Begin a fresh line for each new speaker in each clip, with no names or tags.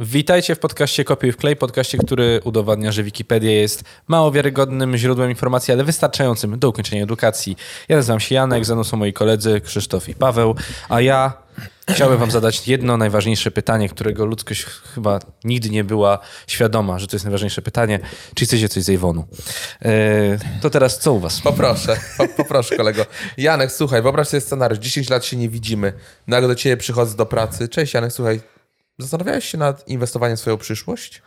Witajcie w podcaście Kopiuj w klej, podcaście, który udowadnia, że Wikipedia jest mało wiarygodnym źródłem informacji, ale wystarczającym do ukończenia edukacji. Ja nazywam się Janek, ze mną są moi koledzy Krzysztof i Paweł, a ja chciałbym wam zadać jedno najważniejsze pytanie, którego ludzkość chyba nigdy nie była świadoma, że to jest najważniejsze pytanie. Czy chcecie coś z Ejwonu? Eee, to teraz co u was?
Poproszę, po, poproszę kolego. Janek, słuchaj, wyobraź sobie scenariusz. 10 lat się nie widzimy. Nagle do ciebie przychodzę do pracy. Cześć Janek, słuchaj. Zastanawiałeś się nad inwestowaniem w swoją przyszłość?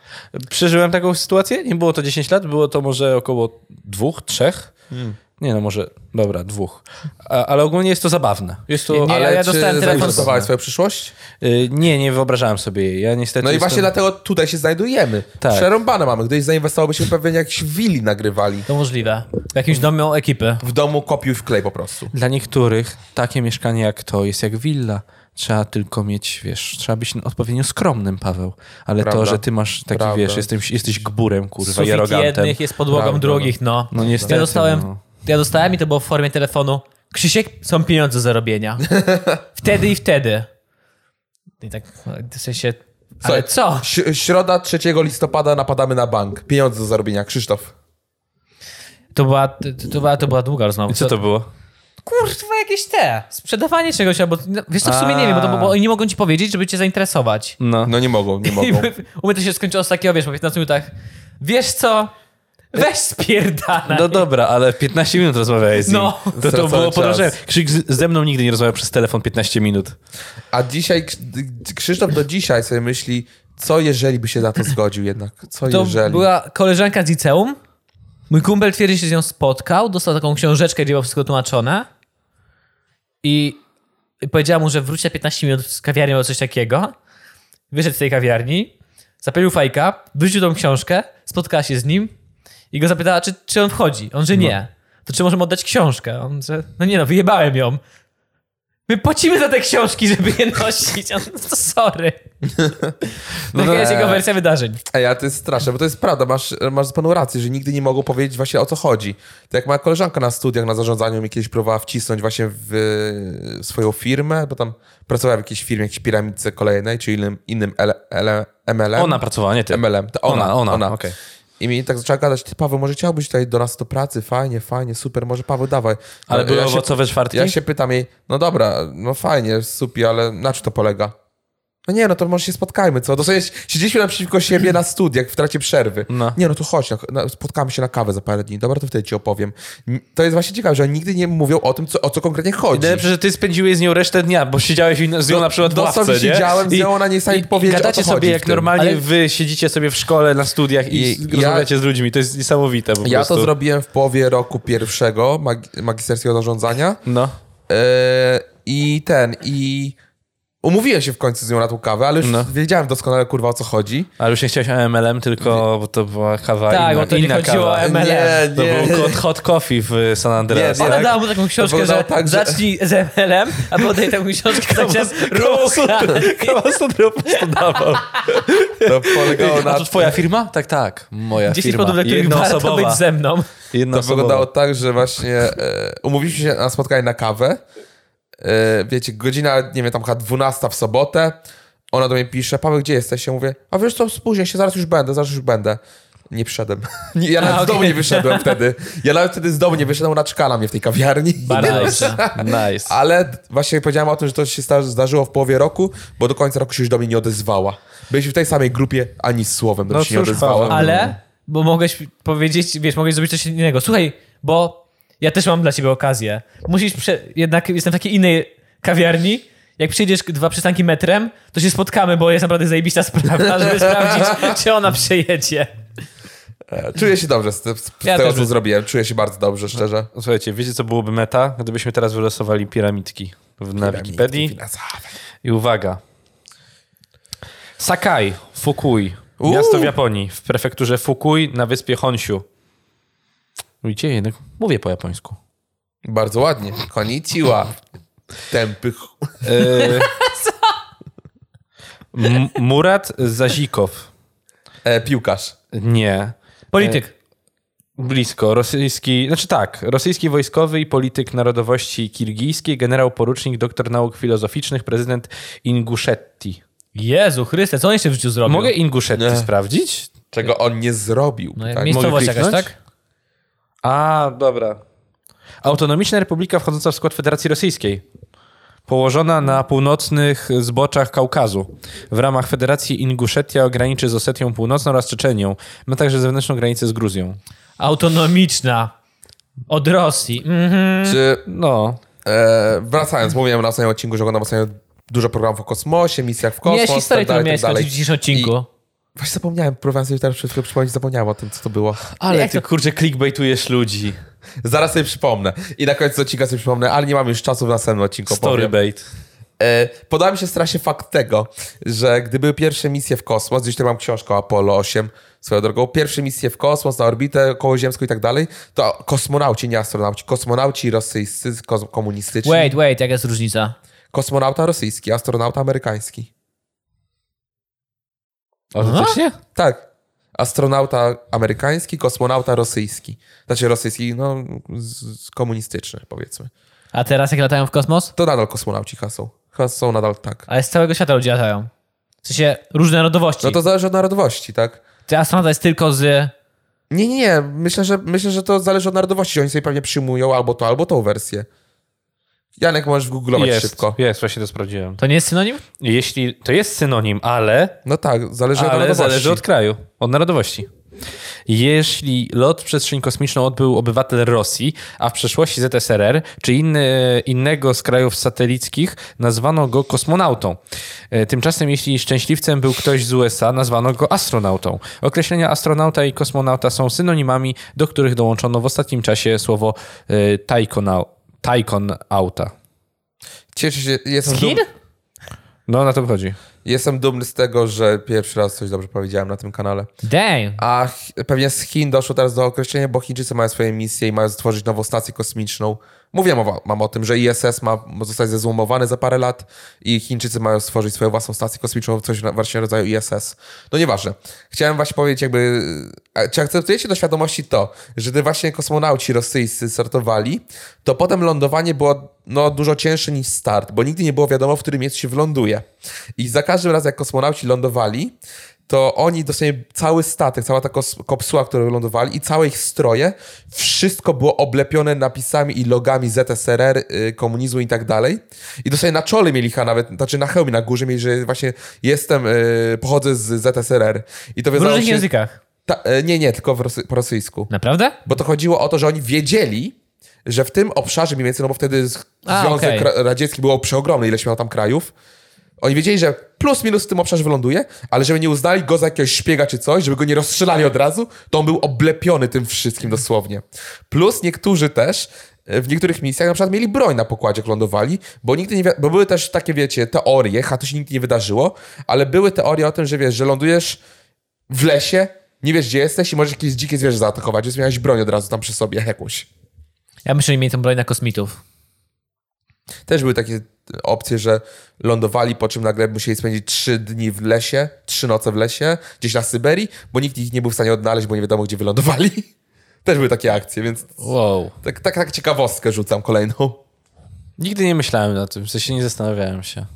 Przeżyłem taką sytuację, nie było to 10 lat, było to może około dwóch, trzech. Nie no, może, dobra, dwóch. A, ale ogólnie jest to zabawne. Jest to, e,
Nie,
Ale
ja
czy
dostałem telefon-
zainwestowałeś w swoją przyszłość?
Y, nie, nie wyobrażałem sobie jej. Ja niestety
No i
jestem-
właśnie dlatego tutaj się znajdujemy.
Tak.
Przerąbane mamy. Gdyś zainwestowałbyśmy pewnie jakieś willi nagrywali.
To możliwe. W jakimś domu ekipy.
W domu kopiuj w klej po prostu.
Dla niektórych takie mieszkanie jak to jest jak willa. Trzeba tylko mieć, wiesz, trzeba być odpowiednio skromnym, Paweł. Ale to,
Prawda.
że ty masz taki,
Prawda.
wiesz, jesteś, jesteś gburem, kurwa, i
Sufit
arogantem.
jednych jest podłogą
Prawda,
drugich, no.
No niestety,
Ja dostałem,
no.
ja dostałem i to było w formie telefonu. Krzysiek, są pieniądze do robienia. wtedy i wtedy. I tak, w sensie, ale co?
Ś- środa 3 listopada napadamy na bank. Pieniądze do zarobienia. Krzysztof.
To była, to, to była, to była długa rozmowa.
I co to było?
Kurwa, jakieś te. Sprzedawanie czegoś albo... no, Wiesz co, w sumie nie wiem, bo, to,
A.
bo oni nie mogą ci powiedzieć, żeby cię zainteresować.
No.
No nie mogą, nie
I
mogą.
u mnie to się skończyło z takiego, wiesz, po 15 minutach. Wiesz co? Weź spierdala.
No dobra, ale 15 minut rozmawiałeś z nim.
No.
to, to
Cały
było
czas.
podróżem. Krzyk z- ze mną nigdy nie rozmawiał przez telefon 15 minut.
A dzisiaj Krz- Krzysztof do dzisiaj sobie myśli, co jeżeli by się na to zgodził jednak? Co
To
jeżeli?
była koleżanka z liceum. Mój kumpel twierdzi, że się z nią spotkał. Dostał taką książeczkę, gdzie było wszystko tłumaczone. I powiedziała mu, że wróci za 15 minut z kawiarni albo coś takiego. Wyszedł z tej kawiarni, zapalił fajka, wrzucił tą książkę, spotkała się z nim i go zapytała, czy, czy on wchodzi. On, że nie. To czy możemy oddać książkę? On, że no nie no, wyjebałem ją. My płacimy za te książki, żeby je nosić. On, no to sorry.
No
Taka
to-
jest jego wersja wydarzeń.
Ej, ale to jest straszne, bo to jest prawda, masz, masz panu rację, że nigdy nie mogą powiedzieć właśnie o co chodzi. Tak jak moja koleżanka na studiach, na zarządzaniu mi kiedyś próbowała wcisnąć właśnie w, e, swoją firmę, bo tam pracowała w jakiejś firmie, jakiejś piramidce kolejnej, czy innym, innym L, L, MLM.
Ona pracowała, nie ty.
MLM, to
Ona,
ona. E,
ona, okej.
I mi tak zaczęła gadać, ty Paweł, może chciałbyś tutaj do nas do pracy, fajnie, fajnie, super, może Paweł, dawaj. No,
Ale
Ja
były
się-
owocowe czwartki?
ja się pytam jej, no dobra, no fajnie, supi, ale na czym to polega? No nie, no to może się spotkajmy, co? Dosłownie siedzieliśmy naprzeciwko siebie na studiach w trakcie przerwy.
No.
Nie, no to chodź, na, na, spotkamy się na kawę za parę dni. Dobra, to wtedy ci opowiem. N- To jest właśnie ciekawe, że oni nigdy nie mówią o tym, co, o co konkretnie chodzi.
Najlepsze, że ty spędziłeś z nią resztę dnia, bo siedziałeś i- z nią
Do-
na przykład w
dosłownie
ławce, nie?
siedziałem z nią,
I-
ona nie jest w stanie
i-
powiedzieć, o co
Gadacie sobie
chodzi
jak
w tym.
normalnie
Ale-
wy siedzicie sobie w szkole, na studiach i,
I-
rozmawiacie z ludźmi. To jest niesamowite po
Ja
prostu.
to zrobiłem w połowie roku pierwszego mag- magisterskiego zarządzania.
No.
E, I ten, i umówiłem się w końcu z nią na tą kawę, ale już
No.
wiedziałem doskonale, kurwa, o co chodzi.
Ale już nie chciałeś AMLM, tylko bo to była kawa
Tak,
inna,
bo to nie
inna
chodziło
kawa.
o MLM.
Nie,
To
nie.
był hot, hot coffee w San Andreas.
Nie, nie.
Ona
tak?
dała mu taką książkę,
wyglądało
że
tak, że-
zacznij z MLM, a potem taką książkę cały czas rucha.
Kawasotrop dawał.
To polegało na
A to twoja firma? Tak, tak. Moja
10
firma.
powodów, dla których warto
Jednoosobowa.
być ze mną.
To
Jednoosobowa.
wyglądało tak, że właśnie e, umówiliśmy się na spotkanie na kawę. E, wiecie, godzina, nie wiem, tam chyba 12 w sobotę. Ona do mnie pisze, Paweł, gdzie jesteś? Ja mówię, a wiesz co, spóźnię się, zaraz już będę, zaraz już będę. Nie przyszedłem. Nie, Ja
A,
nawet z
okej.
domu nie wyszedłem wtedy. Ja nawet wtedy z domu nie wyszedłem, ona czkała mnie w tej kawiarni.
Bardzo dobrze.
Nice.
Ale właśnie powiedziałem o tym, że to się sta- zdarzyło w połowie roku, bo do końca roku się już do mnie nie odezwała. Byliśmy w tej samej grupie, ani słowem do
No
mnie się nie
cóż,
odezwała.
Paweł.
Ale, bo mogłeś powiedzieć, wiesz, mogłeś zrobić coś innego. Słuchaj, bo ja też mam dla ciebie okazję. Musisz, prze... jednak jestem w takiej innej kawiarni, jak przyjedziesz dwa przystanki metrem, to się spotkamy, bo jest naprawdę zajebista sprawa, żeby sprawdzić, czy ona przyjedzie.
Czuję się dobrze z, te, z
Ja
tego,
też
co
by-
zrobiłem. Czuję się bardzo dobrze, szczerze.
tak. Słuchajcie, wiecie co byłoby meta? Gdybyśmy teraz wylosowali piramidki w- na Wikipedii. I uwaga. Sakai, Fukui.
Uuu.
Miasto w Japonii, w prefekturze Fukui na wyspie Honshu. Widzicie, jednak mówię po japońsku.
Bardzo ładnie. Koniciła. Tępy. ch-
Eee, M- Murat Zazikow.
E, piłkarz.
Nie.
Polityk.
Blisko. Rosyjski, znaczy tak, rosyjski wojskowy i polityk narodowości kirgijskiej, generał porucznik, doktor nauk filozoficznych, prezydent Inguszetti.
Jezu Chryste, co on jeszcze w życiu zrobił?
Mogę Inguszetti
Nie.
sprawdzić?
Czego on nie zrobił.
No,
tak?
miejscowość
mogę
jakaś,
kliknąć?
tak?
A, dobra. Autonomiczna Republika wchodząca w skład Federacji Rosyjskiej. Położona na północnych zboczach Kaukazu. W ramach Federacji Inguszetia graniczy z Osetią Północną oraz Czeczenią. Ma także zewnętrzną granicę z Gruzją.
Autonomiczna. Od Rosji. Mhm.
Czy
No.
E, wracając, mówiłem na ostatnim odcinku, że oglądam ostatnio dużo programów o kosmosie, misjach w kosmos.
Miałeś
tak
historię, którą
dalej,
miałeś
tak dalej.
skończyć w dzisiejszym odcinku.
Właśnie zapomniałem, próbowałem sobie teraz przed chwilą przypomnieć, zapomniałem o tym, co to było.
Ale
Jak
ty,
to-
kurczę, clickbaitujesz ludzi.
Zaraz sobie przypomnę. I na końcu odcinka sobie przypomnę, ale nie mam już czasu w następnym odcinku. powiem.
Storybait.
E, podoba mi się strasznie fakt tego, że gdy były pierwsze misje w kosmos, gdzieś tam mam książkę o Apollo 8, swoją drogą, pierwsze misje w kosmos, na orbitę kołoziemską i tak dalej, to kosmonauci, nie astronauci, kosmonauci rosyjscy, ko- komunistyczni.
Wait, wait, jaka jest różnica?
Kosmonauta rosyjski, astronauta amerykański.
Autentycznie?
Tak. Astronauta amerykański, kosmonauta rosyjski. Znaczy rosyjski, no z, z komunistyczny powiedzmy.
A teraz jak latają w kosmos?
To nadal kosmonauci chyba są. Chyba są nadal tak.
Ale z całego świata ludzie latają. W sensie różne narodowości.
No to zależy od narodowości, tak?
Ty astronauta jest tylko z...
Nie, nie, nie. Myślę, że, myślę, że to zależy od narodowości. Oni sobie pewnie przyjmują albo to, albo tą wersję. Janek, możesz googlować
Jest,
szybko.
jest, właśnie to sprawdziłem.
To nie jest synonim?
Jeśli to jest synonim, ale
No tak, zależy od
Ale
narodowości.
zależy od kraju, od narodowości. Jeśli lot w przestrzeń kosmiczną odbył obywatel Rosji, a w przeszłości ZSRR, czy inny, innego z krajów satelickich, nazwano go kosmonautą. E, Tymczasem, jeśli szczęśliwcem był ktoś z USA, nazwano go astronautą. Określenia astronauta i kosmonauta są synonimami, do których dołączono w ostatnim czasie słowo e, tajkonau- tajkonauta.
Cieszę się, jestem, dum,
Skin?
No, na to wychodzi.
jestem dumny z tego, że pierwszy raz coś dobrze powiedziałem na tym kanale.
Damn.
A Ch- pewnie z Chin doszło teraz do określenia, bo Chińczycy mają swoje misje i mają stworzyć nową stację kosmiczną. Mówiłem o, mam o tym, że ISS ma zostać zezłomowany za parę lat i Chińczycy mają stworzyć swoją własną stację kosmiczną, coś na- właśnie rodzaju ISS. No nieważne. Chciałem właśnie powiedzieć jakby, a czy akceptujecie do świadomości to, że gdy właśnie kosmonauci rosyjscy startowali, to potem lądowanie było no, dużo cięższe niż start, bo nigdy nie było wiadomo, w którym miejscu się wląduje. I za każdym razem, jak kosmonauci lądowali, to oni dosłownie cały statek, cała ta kos- kopsuła, którą lądowali i całe ich stroje, wszystko było oblepione napisami i logami ZSRR, y, komunizmu i tak dalej. I dosłownie na czole mieli ha nawet, znaczy na hełmie na górze mieli, że właśnie jestem, y, pochodzę z ZSRR. I to
W
wiązało
różnych
się...
językach.
Ta, y, nie, nie, tylko w rosy- po rosyjsku.
Naprawdę?
Bo to chodziło o to, że oni wiedzieli, że w tym obszarze mniej więcej, no bo wtedy z-
A,
Związek
okej.
Ra- Radziecki było przeogromny, ileś miał tam krajów. Oni wiedzieli, że plus minus w tym obszarze wyląduje, ale żeby nie uznali go za jakiegoś szpiega czy coś, żeby go nie rozstrzelali od razu, to on był oblepiony tym wszystkim dosłownie. Plus niektórzy też e, w niektórych misjach na przykład mieli broń na pokładzie, jak lądowali, bo nigdy nie wi- bo były też takie, wiecie, teorie, a to się nigdy nie wydarzyło, ale były teorie o tym, że wiesz, że lądujesz w lesie, nie wiesz gdzie jesteś i możesz jakieś dzikie zwierzę zaatakować, więc miałeś broń od razu tam przy sobie jakąś.
Ja myślę, że mieli tą broń na kosmitów.
Też były takie e, opcje, że lądowali, po czym nagle musieli spędzić trzy dni w lesie, trzy noce w lesie, gdzieś na Syberii, bo nikt ich nie był w stanie odnaleźć, bo nie wiadomo, gdzie wylądowali. Też były takie akcje, więc
Wow.
tak, tak, tak ciekawostkę rzucam kolejną. No,
Nigdy nie myślałem na tym, w sensie nie zastanawiałem się.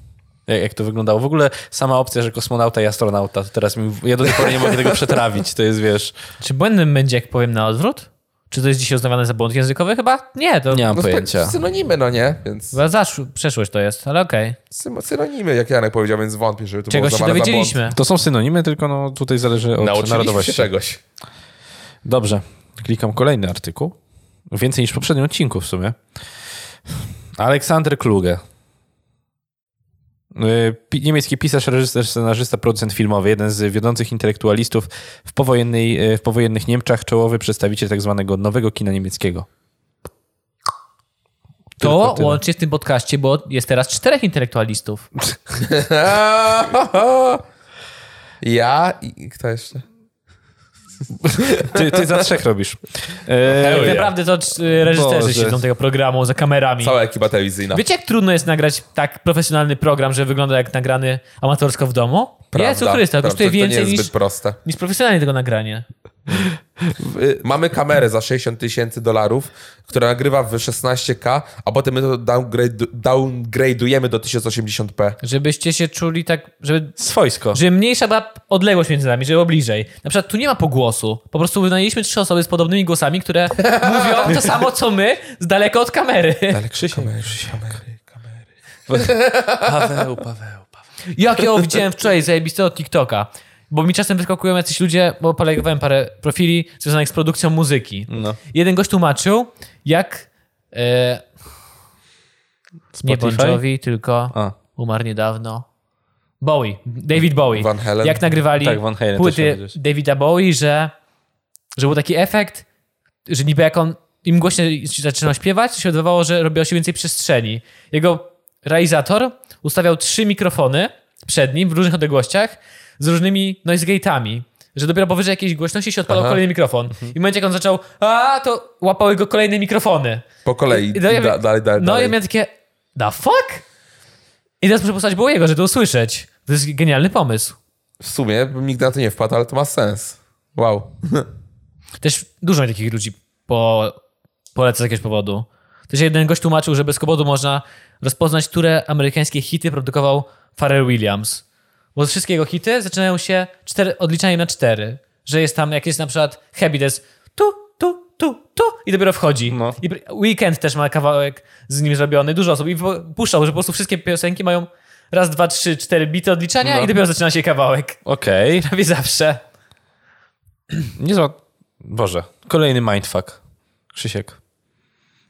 Jak, jak to wyglądało? W ogóle sama opcja, że kosmonauta i astronauta, to teraz mi, ja do tej pory nie mogę tego przetrawić, to jest, wiesz,
Czy błędem będzie, jak powiem na odwrót? Czy to jest dzisiaj uznawane za błąd językowy? Chyba nie, to
nie mam
No,
pojęcia.
synonimy, no nie? Więc
chyba zasz, przeszłość to jest, ale okej.
sym- synonimy, jak Janek powiedział, więc wątpię, żeby to
Czego
było
się
uznawane za
dowiedzieliśmy?
To są synonimy, tylko no, tutaj zależy
błąd.
od
Nauczyliśmy się
narodowości.
czegoś.
Dobrze, klikam kolejny artykuł. Więcej niż w poprzednim odcinku w sumie. Aleksander Kluge. Y, pi- Niemiecki pisarz, reżyser, scenarzysta, producent filmowy, jeden z wiodących intelektualistów w, powojennej, y, w powojennych Niemczech, czołowy przedstawiciel tak zwanego nowego kina niemieckiego.
To
Tylko tyle.
łącznie w tym podcaście, bo jest teraz czterech intelektualistów.
Ja i i kto jeszcze?
Ty, ty za trzech robisz. Y, E,
Tak naprawdę to c- reżyserzy
Boże.
siedzą tego programu za kamerami.
Cała ekipa telewizyjna.
Wiecie, jak trudno jest nagrać tak profesjonalny program, że wygląda jak nagrany amatorsko w domu? Jezu Chryste, to kosztuje
to nie
więcej
jest
niż,
zbyt proste. Y,
niż profesjonalnie tego nagranie.
Mamy kamerę za 60 tysięcy dolarów, która nagrywa w 16K, a potem my to downgrade, downgrade'ujemy do 1080p.
Żebyście się czuli tak, żeby,
Swojsko.
żeby mniejsza była odległość między nami, żeby było bliżej. Na przykład tu nie ma pogłosu. Po prostu wynajęliśmy trzy osoby z podobnymi głosami, które mówią to samo co my, z daleka od kamery.
Ale Krzysiek, kamery, kamery, kamery.
Paweł, Paweł, Paweł.
Jak ja widziałem wczoraj zajebistego TikToka. Bo mi czasem wyskakują jacyś ludzie, bo polegowałem parę profili związanych z produkcją muzyki.
No.
Jeden gość tłumaczył, jak e, nie Bon
Spotify?
Jovi, tylko
A.
umarł niedawno. Bowie, David Bowie.
Van Halen.
Jak nagrywali
Tak, Van Halen też miał
płyty
gdzieś.
Davida Bowie, że, że był taki efekt, że niby jak on im głośniej zaczynał śpiewać, to się wydawało, że robiło się więcej przestrzeni. Jego realizator ustawiał trzy mikrofony przed nim w różnych odległościach z różnymi noise gate'ami. Że dopiero powyżej jakiejś głośności się odpalał
Aha.
kolejny mikrofon.
Mhm.
I w momencie, jak on zaczął, a to łapały go kolejne mikrofony.
Po kolei,
No ja,
da, dalej, dalej,
no, ja
dalej.
miałem takie, the fuck? I teraz muszę posłać Bowiego, żeby to usłyszeć. To jest genialny pomysł.
W sumie bym nigdy na to nie wpadł, ale to ma sens. Wow.
Też dużo mi takich ludzi po, poleca z jakiegoś powodu. Też jeden gość tłumaczył, że bez kobodu można rozpoznać, które amerykańskie hity produkował Pharrell Williams. Bo wszystkie jego hity zaczynają się cztery, odliczaniem na cztery. Że jest tam, jak jest na przykład Happy, to jest tu, tu, tu, tu i dopiero wchodzi.
No.
I pr- Weekend też ma kawałek z nim zrobiony, dużo osób. I wypu- puszczał, że po prostu wszystkie piosenki mają raz, dwa, trzy, cztery bity odliczania
No.
i dopiero zaczyna się kawałek.
Okej.
Prawie zawsze.
Niezła. Boże. Kolejny mindfuck. Krzysiek.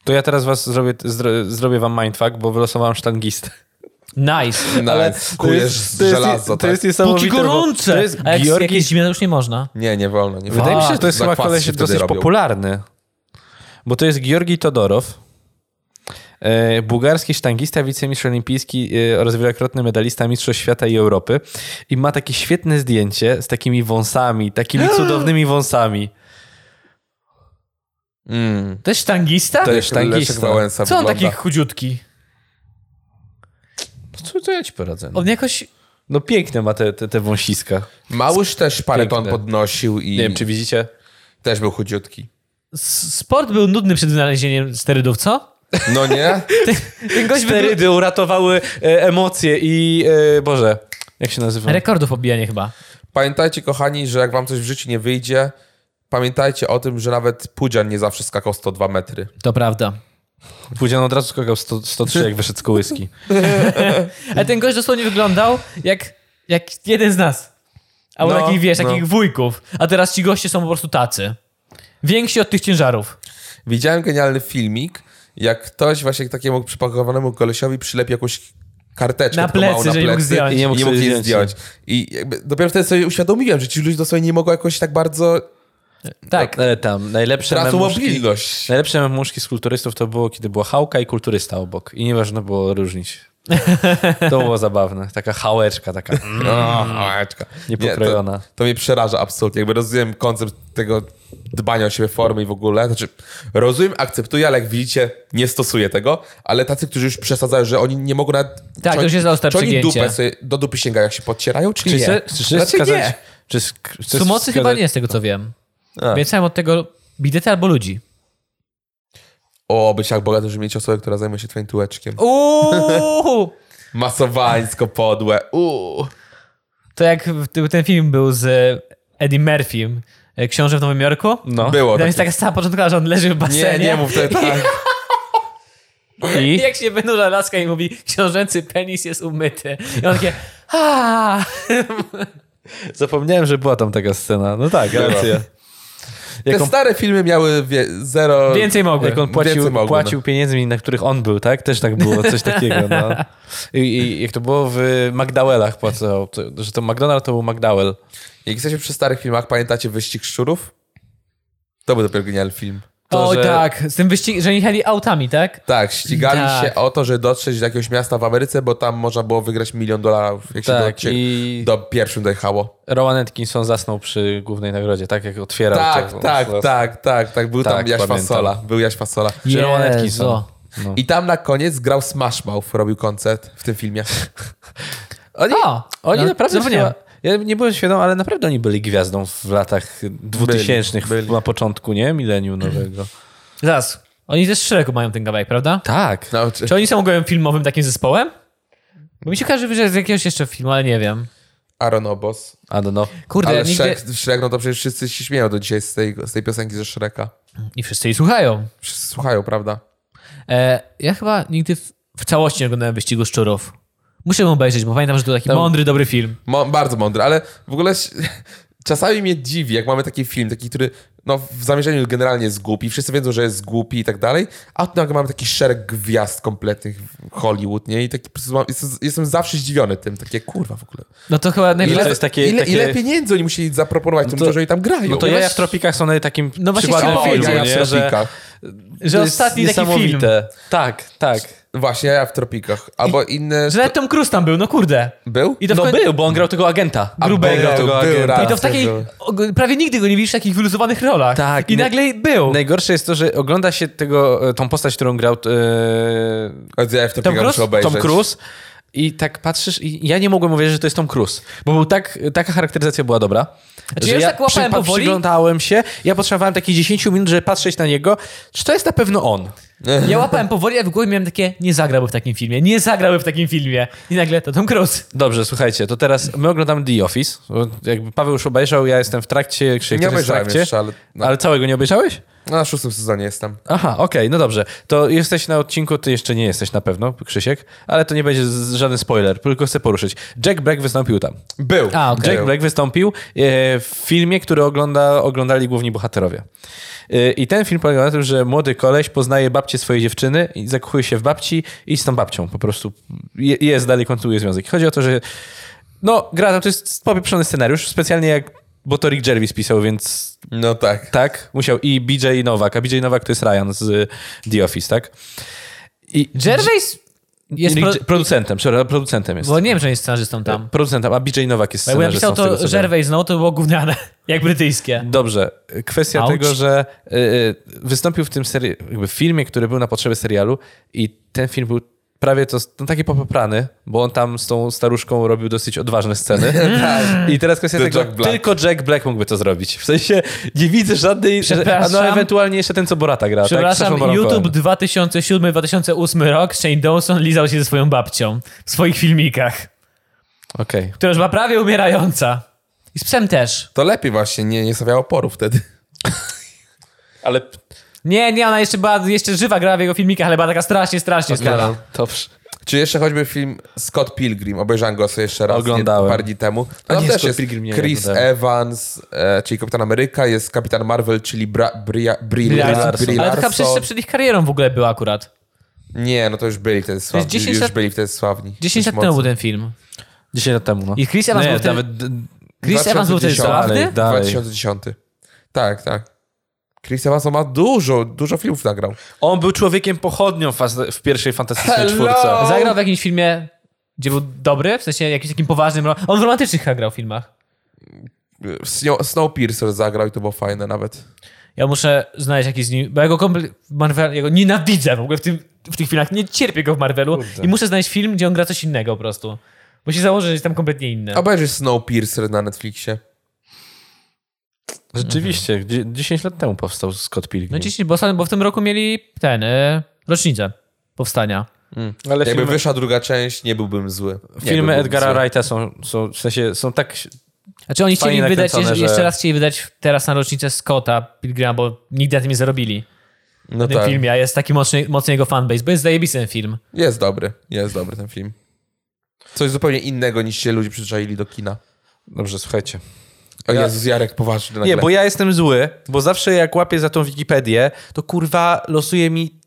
To ja teraz was zrobię, zdro, zrobię wam mindfuck, bo wylosowałem sztangistę.
Nice.
Ale kujesz z
to
żelazo, tak?
jest
Póki
niesamowite. bo
gorące!
To jest
A jak
Georgi...
jakieś zimne już nie można.
Nie, nie wolno. Nie
Wydaje
wolno.
mi się, że to jest chyba
Zakwasy
koleś
się wtedy
dosyć
robią.
popularny. Bo to jest Georgi Todorow, e, bułgarski sztangista, wicemistrz olimpijski e, oraz wielokrotny medalista Mistrzostw Świata i Europy. I ma takie świetne zdjęcie z takimi wąsami, takimi cudownymi wąsami.
Mm.
To jest sztangista?
To
jest
jest
sztangista.
Leszek Wałęsa
Co on
wygląda.
taki chudziutki?
Co to ja ci poradzę? no?
On jakoś...
No piękne ma te, te, te wąsiska.
Małyż też parę ton
Piękne.
podnosił i
Nie wiem, czy widzicie?
też był chudziutki.
s- Sport był nudny przed wynalezieniem sterydów, co?
No nie?
Ten gość wygl...
Sterydy uratowały e, emocje i... E, Boże, jak się
No.
nazywa?
Rekordów obijanie chyba.
Pamiętajcie, kochani, że jak wam coś w życiu nie wyjdzie, pamiętajcie o tym, że nawet Pudzian nie zawsze skakał 102 metry.
To prawda.
Pudzian od razu skakał 100, 103, jak wyszedł z kołyski.
Ale ten gość dosłownie wyglądał jak, jak jeden z nas. Albo
No,
takich, wiesz,
no.
takich wujków. A teraz ci goście są po prostu tacy. Więksi od tych ciężarów.
Widziałem genialny filmik, jak ktoś właśnie takiemu przypakowanemu kolesiowi przylepi jakąś karteczkę
Na
taką małą
plecy, że nie mógł zdjąć.
I nie mógł,
sobie
jej
zdjąć.
zdjąć. I jakby dopiero wtedy sobie uświadomiłem, że ci ludzie dosłownie nie mogą jakoś tak bardzo...
Tak.
Ale E, tam najlepsze
Tracą
memuszki,
mobilność.
najlepsze memuszki z kulturystów to było, kiedy była hałka i kulturysta obok. I nie można było różnić. To było zabawne. Taka hałeczka, taka
No,
Mm.
małeczka.
niepokrojona.
Nie, to, to mnie przeraża absolutnie. Jakby rozumiem koncept tego dbania o siebie formy i w ogóle. Znaczy, rozumiem, akceptuję, ale jak widzicie, nie stosuję tego. Ale tacy, którzy już przesadzają, że oni nie mogą nawet...
Tak, to już jest ostre
Czy oni
przygięcie.
dupę sobie, do dupy sięgają, jak się podcierają, czy,
Czy
nie?
chce- czy chcesz
Raczej
skazać...
nie.
Czy sk- chcesz
Sumocy chyba
skazać-
nie z tego, co wiem.
A.
Więc od tego bidety albo ludzi.
O, być tak bogaty, żeby mieć osobę, która zajmuje się twoim tułeczkiem.
Uuuu!
Masowańsko podłe. Uuu.
To jak w- ty- ten film był z e, Eddie Murphym, e, Książę w Nowym Jorku.
No.
Było
Tam
tak.
jest taka sama początkowa, że on leży w
Nie,
basenie.
nie mów tego tak.
I
I?
jak się wynurza laska i mówi, książęcy penis jest umyty. I on takie, aaa.
Zapomniałem, że była tam taka scena. No tak,
Była.
racja.
Te
Jak on,
stare filmy miały wie, zero...
Więcej mogły.
jak on
Więcej
płacił,
mogłem.
płacił pieniędzmi, na których on był, tak? Też tak było, coś takiego. No. I, I jak to było w McDowellach płacał, to, że to McDonald to był McDowell.
Jak jesteśmy przy starych filmach, pamiętacie Wyścig Szczurów? To był dopiero genialny film.
To,
o
że-
tak, z tym wyścigiem, że jechali autami, tak?
Tak, ścigali
Tak.
się o to, że dotrzeć do jakiegoś miasta w Ameryce, bo tam można było wygrać milion dolarów, jak
Tak,
się do,
i-
do pierwszym dojechało.
Rowan Atkinson zasnął przy głównej nagrodzie, tak jak otwierał.
Tak,
to-
tak,
to-
tak, tak, tak. Był
Tak,
tam Jaś
pamiętam.
Fasola. Był Jaś Fasola.
Czy Rowan
Jezu.
Atkinson. No.
I tam na koniec grał Smash Mouth, robił koncert w tym filmie.
Oni,
O,
oni
no,
naprawdę
zapomniałem.
chyba- Ja no nie byłem świadom, ale naprawdę oni byli gwiazdą w latach dwutysięcznych, w-
byli.
na początku, nie? Milenium nowego.
Zaraz. Oni też w szeregu mają ten kawałek, prawda?
Tak.
No,
Czy oni są gołem filmowym takim zespołem? Bo mi się każe, że z jakiegoś jeszcze filmu, ale nie wiem.
Aaron Obos.
A no, no.
Kurde,
Ale
ja nigdy...
Shrek, Shrek, no to przecież wszyscy się śmieją do dzisiaj z tej, z tej piosenki ze Shreka.
I wszyscy jej słuchają.
Wszyscy słuchają, prawda?
E, ja chyba nigdy w, w całości nie oglądałem Wyścigu Szczurów. Muszę ją obejrzeć, bo pamiętam, że to taki mądry, dobry film.
Mo- bardzo mądry, ale w ogóle ś- czasami mnie dziwi, jak mamy taki film, taki, który no, w zamierzeniu generalnie jest głupi, wszyscy wiedzą, że jest głupi i tak dalej, a tu nagle mamy taki szereg gwiazd kompletnych w Hollywood, nie? I taki, po prostu mam- jestem, jestem zawsze zdziwiony tym, takie kurwa w ogóle.
No to chyba
Ile
najlepsze...
to jest takie...
ile,
takie...
ile pieniędzy oni musieli zaproponować tym,
to-
ludziom, że oni tam grają?
No to ja w Tropikach są naj- takim
No właśnie
przykładem
chciałem
filmu,
ja
powiedzieć,
nie?
w
Że,
tropikach.
Że ostatni taki film.
niesamowite. Tak, tak.
Właśnie, ja w tropikach. Albo inne...
Że nawet Tom Cruise tam był, no kurde.
Był?
I to
no
w koń...
był, bo on grał tego agenta.
A
grubego
był,
tego
był
agenta.
raz.
I to w takiej...
był.
o- Prawie nigdy go nie widzisz w takich wyluzowanych rolach.
Tak,
I
nie-
nagle był.
Najgorsze jest to, że ogląda się tego, e, tą postać, którą grał e,
Ale Ja w
Tom
tropikach muszę
Cruise?
obejrzeć.
Tom Cruise. I tak patrzysz, i ja nie mogłem uwierzyć, że to jest Tom Cruise, bo był tak, taka charakteryzacja była dobra.
Znaczy,
że
ja już tak łapałem powoli.
Przyglądałem się, ja potrzebowałem takich 10 minut, żeby patrzeć na niego, czy to jest na pewno on.
Ja łapałem powoli, a w głowie miałem takie, nie zagrałby w takim filmie, nie zagrałby w takim filmie. I nagle to Tom Cruise.
Dobrze, słuchajcie, to teraz my oglądamy The Office. Bo Jakby Paweł już obejrzał, ja jestem w trakcie, Krzysiek
Nie
też jest w
obejrzałem
trakcie.
jeszcze, ale na,
Ale całego nie obejrzałeś?
na szóstym sezonie jestem.
Aha, okej, no dobrze. To jesteś na odcinku, ty jeszcze nie jesteś na pewno, Krzysiek, ale to nie będzie z- żaden spoiler, tylko chcę poruszyć. Jack Black wystąpił tam.
Był.
A, okej.
Jack Black wystąpił e, w filmie, który ogląda, oglądali główni bohaterowie. E, I ten film polega na tym, że młody koleś poznaje babcię swojej dziewczyny i zakochuje się w babci i z tą babcią po prostu je- jest, dalej kontynuuje związek. Chodzi o to, że no, gra tam, to jest popieprzony scenariusz, specjalnie jak, bo to Rick Jervis pisał, więc
No tak.
tak, musiał i BJ Nowak, a BJ Nowak to jest Ryan z y, The Office, tak? I
Gervais jest...
Rick-
Pro...
producentem, przepraszam, producentem jest.
Bo nie wiem, że on jest scenarzystą tam.
Producentem, a BJ Nowak jest
Bo Jakby
scenarzystą.
napisał
z tego,
to
co wiem.
Gervais znowu, to było gówniane, jak brytyjskie.
Dobrze, kwestia
Ouch.
tego, że y, y, wystąpił w tym seri- jakby w filmie, który był na potrzeby serialu i ten film był prawie to no, taki popoprany, bo on tam z tą staruszką robił dosyć odważne sceny. I teraz kwestia
To
tego,
Jack Black.
tylko Tak. Jack Black mógłby to zrobić. W sensie nie widzę żadnej... A
Przepraszam.
no ewentualnie jeszcze ten, co Borata gra. tak?
Przepraszam,
Przepraszam,
YouTube 2007-2008 rok, Shane Dawson lizał się ze swoją babcią w swoich filmikach,
Okej.
która już była prawie umierająca. I z psem też.
To lepiej właśnie, nie, nie stawiało oporu wtedy.
Ale
Nie, nie, ona jeszcze była, jeszcze żywa grała w jego filmikach, ale była taka strasznie, strasznie skala.
Dobrze.
Czy jeszcze choćby film Scott Pilgrim, obejrzałem go sobie jeszcze raz
Oglądałem.
Nie, parę dni temu.
A
Tam
nie,
też
Scott
jest
Pilgrim nie
Chris
oglądałem.
Evans, e, czyli Kapitan Ameryka, jest Kapitan Marvel, czyli Bra, Bria, Brie,
Brie
Brie,
Larson.
Brie
Ale taka przecież jeszcze
Larson.
przed ich karierą w ogóle była akurat.
Nie, no to już byli wtedy sławni.
10
już
lat-
byli wtedy sławni.
10 lat
Dość
temu
mocno.
był ten film.
10 lat temu, no.
I Chris Evans
nie,
był wtedy-
nawet d-
Chris Evans był wtedy
2010.
zabawny?
dalej, dalej.
2010. Tak, tak. Chris Evans ma dużo, dużo filmów nagrał.
On był człowiekiem pochodnią w, faz- w pierwszej fantastycznej
Hello!
czwórce.
Zagrał w jakimś filmie, gdzie był dobry, w sensie jakimś takim poważnym... ro- On w romantycznych grał w filmach.
Snow, Snowpiercer zagrał i to było fajne nawet.
Ja muszę znaleźć jakiś z nim, bo ja go kompletnie Marvel, ja go nienawidzę w ogóle w, tym, w tych filmach, nie cierpię go w Marvelu i muszę znaleźć film, gdzie on gra coś innego po prostu. Musi założyć, że jest tam kompletnie inny.
Obejrzyj Snowpiercer na Netflixie.
Rzeczywiście, dzie- 10 lat temu powstał Scott
Mhm. No
Pilgrim.
10, bo, ostatnio- bo w tym roku mieli ten, y, rocznicę powstania.
ale
Jakby
filmy,
wyszła druga część, nie byłbym zły. Nie
filmy
byłbym
Edgara
zły.
Wrighta są, są, w sensie, są tak...
Znaczy oni chcieli
Fajnie
wydać,
nakręcone,
jeszcze,
że-
jeszcze raz chcieli wydać teraz na rocznicę Scotta Pilgrima, bo nigdy na tym nie zarobili.
No
W tym
tak.
filmie, a jest taki mocny, mocny jego fanbase, bo jest zajebisty ten film.
Jest dobry, jest dobry ten film. Coś zupełnie innego niż się ludzie przyzwyczaili do kina.
Dobrze, słuchajcie.
O
Ja-
Jezus, Jarek, poważny nagle.
Nie, bo ja jestem zły, bo zawsze jak łapię za tą Wikipedię, to kurwa losuje mi...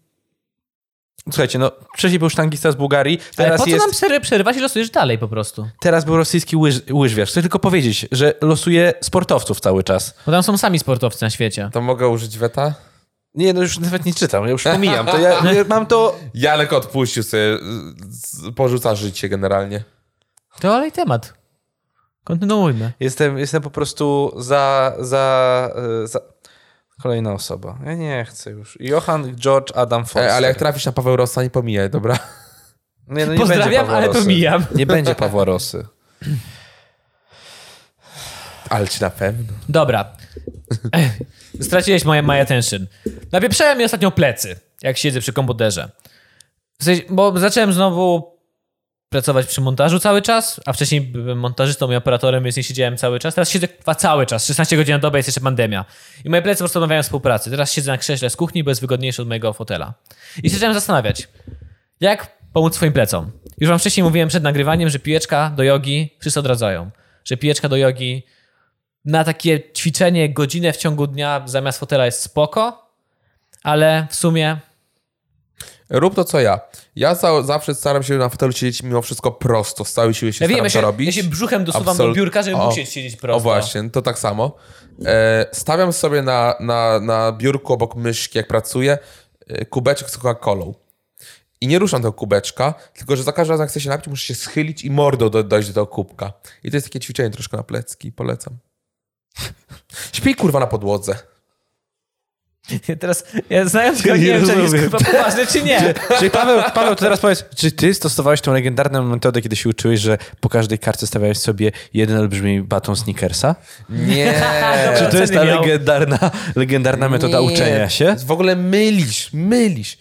Słuchajcie, no wcześniej był sztangista z Bułgarii,
Ale
teraz
po co
jest...
nam przery- przerywać i losujesz dalej po prostu?
Teraz był rosyjski łyż, łyżwiarz. Chcę tylko powiedzieć, że losuje sportowców cały czas.
Bo tam są sami sportowcy na świecie.
To mogę użyć weta?
Nie, no już nawet nie czytam, ja już pomijam. To ja, ja mam to...
Jarek odpuścił sobie, z- porzuca życie generalnie. E,
Tak.
To olej temat. Kontynuujmy.
Jestem, jestem po prostu za, za, e, za... Kolejna osoba. Ja nie chcę już. Johan George Adam Foster.
E, ale jak trafisz na Paweł Rossa, nie pomijaj, dobra?
nie, no nie będzie
Pozdrawiam,
Pawła
ale
Rosy.
pomijam.
Nie będzie Pawła Rosy.
Ale czy na pewno?
Dobra. Ech, Straciłeś moje, my attention. Napieprzałem mi ostatnio plecy, jak siedzę przy komputerze. W sensie, bo zacząłem znowu pracować przy montażu cały czas, a wcześniej byłem montażystą i operatorem, więc nie siedziałem cały czas. Teraz siedzę kwa cały czas, 16 godzin na dobę, jest jeszcze pandemia. I moje plecy postanawiają współpracy. Teraz siedzę na krześle z kuchni, bo jest wygodniejsze od mojego fotela. I się zacząłem zastanawiać, jak pomóc swoim plecom? Już wam wcześniej mówiłem przed nagrywaniem, że pijeczka do jogi wszyscy odradzają. Że pijeczka do jogi na takie ćwiczenie godzinę w ciągu dnia zamiast fotela jest spoko, ale w sumie
Rób to, co ja. Ja za, zawsze staram się na fotelu siedzieć mimo wszystko prosto. Z całej siły się
ja
staram
wiem, ja się,
to robić.
ja się brzuchem dosuwam do
Absolut-
biurka, żeby
o,
musieć siedzieć prosto.
O właśnie, to tak samo. E, stawiam sobie na, na, na biurku obok myszki, jak pracuję, e, kubeczek z Coca-Colą. I nie ruszam tego kubeczka, tylko że za każdym razem, jak chcę się napić, muszę się schylić i mordą do, dojść do tego kubka. I to jest takie ćwiczenie troszkę na plecki, polecam. Śpij kurwa na podłodze.
Ja teraz, ja znając go, nie,
Nie
wiem, czy on jest
rozumiem.
kurwa poważny, czy nie.
Czyli Paweł, Paweł, to teraz powiedz, czy ty stosowałeś tą legendarną metodę, kiedy się uczyłeś, że po każdej kartce stawiałeś sobie jeden olbrzymi baton Snickersa?
Nie.
Czy to jest ta
nie miał.
legendarna, legendarna metoda
Nie.
uczenia się?
W ogóle mylisz, mylisz.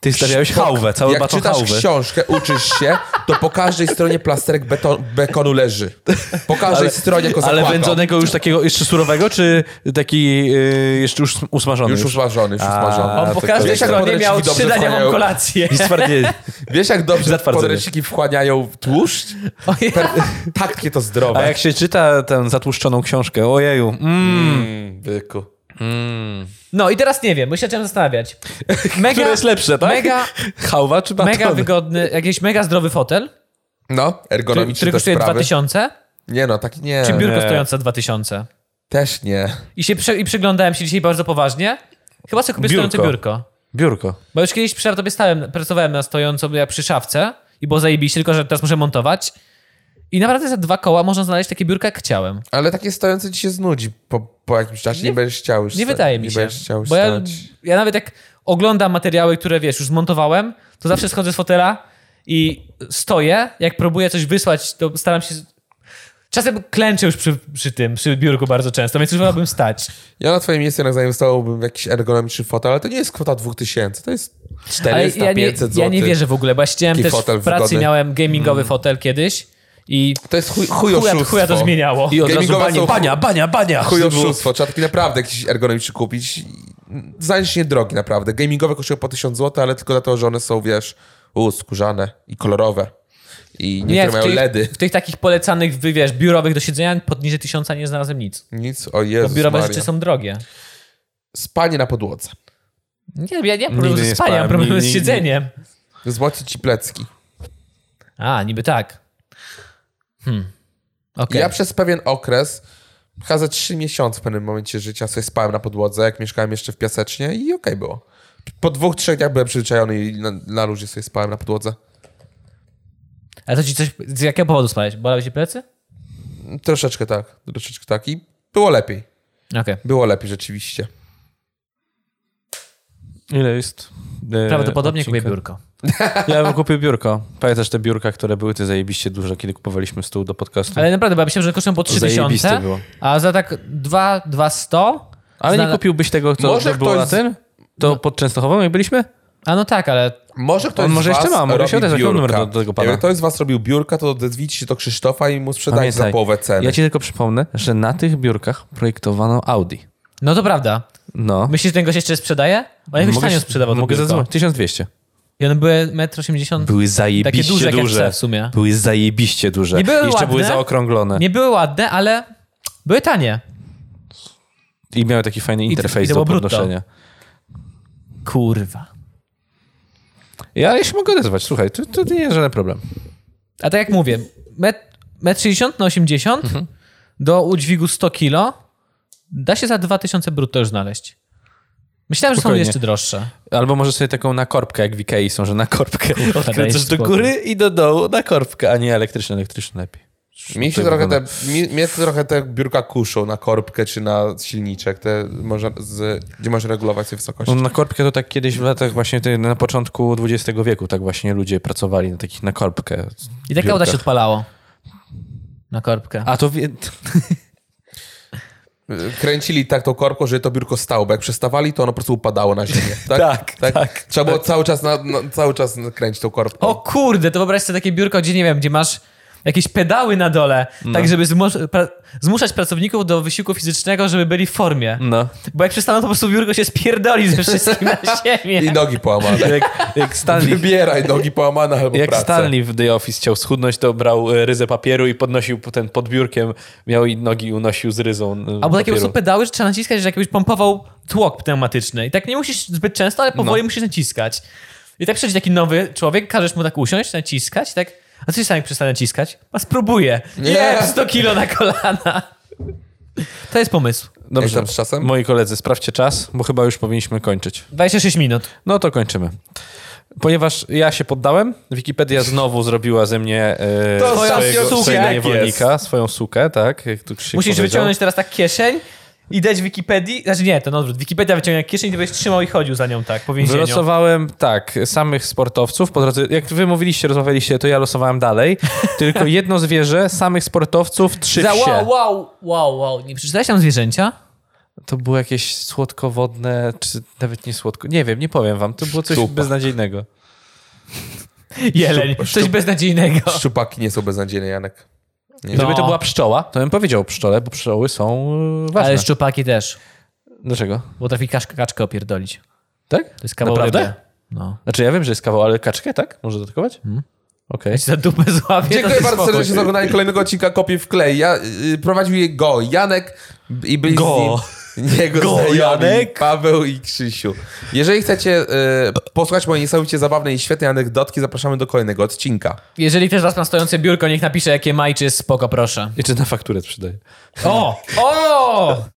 Ty stawiałeś hałwę, cały
Jak
baton
czytasz
hałwę.
książkę, uczysz się, to po każdej stronie plasterek beton, bekonu leży. Po każdej stronie go
Ale
zapłakał.
wędzonego już takiego, jeszcze surowego, czy taki yy, jeszcze już usmażony?
Już usmażony, już usmażony.
A,
On po
to
każdej
wiesz, jak
stronie
podręczniki
miał
dobrze
trzy dania mam
wchłaniają-
kolację.
I stwardnienie.
Wiesz, jak dobrze
Zatwardzenie.
podręczniki wchłaniają tłuszcz?
O ja.
Takie to
A
zdrowe.
Tak.
jak się czyta tę zatłuszczoną książkę, ojeju, mm,
Mm, byku.
No i teraz nie wiem, bo się zacząłem zastanawiać. Mega,
które jest lepsze, tak?
mega,
Hałwa czy baton?
mega wygodny, jakiś mega zdrowy fotel,
No,
który, który
ergonomiczne też
kosztuje
sprawy.
2000,
Nie no, tak nie.
czy biurko
nie.
stojące 2000.
Też nie.
I się prze, i przyglądałem się dzisiaj bardzo poważnie. Chyba sobie kupię
Biurko.
stojące biurko.
Biurko.
Bo już kiedyś przy laptopie stałem, pracowałem na stojąco jak przy szafce i było zajebiście, tylko że teraz muszę montować. I naprawdę za dwa koła można znaleźć takie biurka, jak chciałem.
Ale takie stojące ci się znudzi po, po jakimś czasie. Nie, będziesz chciał już
Nie
sta-
wydaje mi
Nie
się.
będziesz chciał
bo ja,
stać.
ja nawet jak oglądam materiały, które wiesz, już zmontowałem, to zawsze schodzę z fotela i stoję. Jak próbuję coś wysłać, to staram się. Czasem klęczę już przy, przy tym, przy biurku bardzo często, więc już wolałbym stać.
Ja na twoim miejscu jednak zainwestowałbym w jakiś ergonomiczny fotel, ale to nie jest kwota 2000, to jest 400,
ja, nie,
500 zł.
ja nie wierzę w ogóle, bo ja siedziałem
Taki
też
fotel
w pracy,
wygodny.
miałem gamingowy
Mm.
fotel kiedyś i
To jest chuj,
chuja,
chujoszustwo.
chuja to zmieniało.
I od razu
Gamingowe
banie,
są-
bania, bania, bania.
Chujoszustwo. Trzeba taki naprawdę jakiś ergonomiczny kupić. Znaleźć nie drogi naprawdę. Gamingowe kosztują po 1000 zł, ale tylko dlatego, że one są, wiesz, u, skórzane i kolorowe. I niektóre
w
mają
tych,
LEDy.
W tych takich polecanych, wy- wiesz, biurowych do siedzenia poniżej tysiąca nie znalazłem nic.
Nic, o
Bo
Jezus
biurowe
Maria.
rzeczy są drogie.
Spanie na podłodze.
Nie, ja nie mam problemu
Nigdy
ze
nie
spaniem,
spałem,
mam problem
ni-
z
nigdy.
siedzeniem.
Złoci ci plecki.
A, niby tak. Hmm. Okej.
Ja przez pewien okres, chyba ze trzy miesiące w pewnym momencie życia, sobie spałem na podłodze, jak mieszkałem jeszcze w piasecznie i okej było. Po dwóch, trzech dniach byłem przyzwyczajony i na, na luzie sobie spałem na podłodze.
Ale to ci coś, z jakiego powodu spałeś? Bolały ci plecy?
Troszeczkę tak, troszeczkę tak i było lepiej.
Okej.
E,
Było lepiej rzeczywiście.
Ile jest? e,
Prawdopodobnie kupię
odcinka?
biurko.
Ja bym kupił biurko. Pamiętasz te biurka, które były te zajebiście duże, kiedy kupowaliśmy stół do podcastu?
Ale naprawdę, bo ja myślałem, że kosztują po
Zajebiste
3000,
było.
a za tak 2, 200...
Ale nie kupiłbyś tego, co
Może
Może No. było
ktoś
na
z-
tym? To pod Częstochową, jak byliśmy?
A no tak, ale
Może ktoś
On może
z was
jeszcze ma, może
robi
się odezwać, mam
biurka.
numer do- do tego pana.
Jak ktoś z was robił biurka, to odezwijcie się do Krzysztofa i mu sprzedajcie za połowę ceny.
ja ci tylko przypomnę, że na tych biurkach projektowano Audi.
no to prawda.
No.
Myślisz, że ten gość jeszcze sprzedaje? Bo jakoś tanio sprzedawał to
Mogę
biurko.
zadzwonić. 1200.
I one były 1,80 m.
Były zajebiście
Takie duże
duże.
jak ja chcę w sumie.
Były zajebiście duże.
Nie były
I jeszcze
ładne.
były zaokrąglone.
Nie były ładne, ale były tanie.
I miały taki fajny
i
interfejs
to
do
było brutto.
podnoszenia.
Kurwa.
Ja ja się mogę odezwać, słuchaj, to, to nie jest żaden problem.
A tak jak mówię, met- metr 60 na 80
Mhm.
do udźwigu 100 kilo da się za 2000 brutto już znaleźć. Myślałem, że
Spokojnie.
są jeszcze droższe.
Albo może sobie taką nakorbkę, jak w Ikei są, że nakorbkę odkręcasz do
spokój.
góry i do dołu, nakorbkę, a nie elektryczne, elektryczne lepiej.
Mi się
To
trochę te,
wygląda-
mi, mnie trochę te biurka kuszą na korbkę czy na silniczek, te można z, gdzie możesz regulować sobie wysokość.
No, nakorbkę to tak kiedyś w latach właśnie ty- na początku XX wieku tak właśnie ludzie pracowali na takich nakorbkę.
I taka uda się odpalało. Na korbkę.
A to wie...
Kręcili tak tą korką, że to biurko stało, bo jak przestawali, to ono po prostu upadało na ziemię. Tak,
Tak, tak.
Trzeba było cały czas, na, na, cały czas kręcić tą korką.
O kurde, to wyobraź sobie takie biurko, gdzie nie wiem, gdzie masz jakieś pedały na dole,
No.
tak żeby zmus- pra- zmuszać pracowników do wysiłku fizycznego, żeby byli w formie.
Mm.
No.
Bo jak przestaną, to po prostu biurko się spierdoli ze wszystkim na ziemię.
I nogi połamane.
Jak, jak Stanley,
Wybieraj nogi połamane albo
jak
pracę.
Stanley w The Office chciał schudnąć, to brał e, ryzę papieru i podnosił ten pod biurkiem, miał i nogi unosił z ryzą e,
Albo takie po
papieru.
prostu pedały, że trzeba naciskać, że jakbyś pompował tłok pneumatyczny. I tak nie musisz zbyt często, ale
No.
powoli musisz naciskać. I tak przychodzi taki nowy człowiek, każesz mu tak usiąść, naciskać, tak. A co się sami przestanie naciskać? A spróbuję.
Nie.
Nie, 100 kilo na kolana. To jest pomysł.
Jak tam z czasem?
moi koledzy, sprawdźcie czas, bo chyba już powinniśmy kończyć.
26 minut.
No to kończymy. Ponieważ ja się poddałem, Wikipedia znowu zrobiła ze mnie e,
To
swojego,
ostatni
swojego
odcinek
niewolnika, swoją sukę, tak? Jak tu Krzysiek
Musisz
powiedział.
wyciągnąć teraz tak kieszeń i dać Wikipedii. Znaczy nie, to na odwrót. Wikipedia wyciągnie kieszeń i ty będziesz trzymał i chodził za nią tak po więzieniu.
Wylosowałem, tak, samych sportowców. Po drodze, jak wy mówiliście, rozmawialiście, to ja losowałem dalej. Tylko jedno zwierzę, samych sportowców, trzy
Za wow,
wsie.
wow, wow, wow. Nie przeczytałeś tam zwierzęcia?
To było jakieś słodkowodne, czy nawet nie słodko. Nie wiem, nie powiem wam. To było coś
Szczupak.
beznadziejnego.
Jeleń.
Szczup-
Coś
szczup-
beznadziejnego.
Szczupaki nie są beznadziejne, Janek. No.
Gdyby to była pszczoła, to bym powiedział o pszczole, bo pszczoły są e, ważne.
Ale szczupaki też.
Dlaczego?
Potrafi kaczkę, kaczkę opierdolić.
Tak?
To jest kawał
Naprawdę?
ryby. No.
Znaczy ja wiem, że jest kawał, ale kaczkę, tak? Może dodatkować?
Mhm.
Okej.
Jak się za dupę złapie,
Dziękuję
to
bardzo
spokój.
serdecznie za oglądanie kolejnego odcinka Kopii w klej. Ja, y, prowadził je Go, Janek i byli
Go.
z nim jego
Go,
znajomi,
Janek.
Paweł i Krzysiu. Jeżeli chcecie y, posłuchać mojej niesamowicie zabawnej i świetnej anegdotki, zapraszamy do kolejnego odcinka.
Jeżeli też was ma stojące biurko, niech napisze, jakie ma i czy jest spoko, proszę.
I czy na fakturę sprzedaje?
O! O!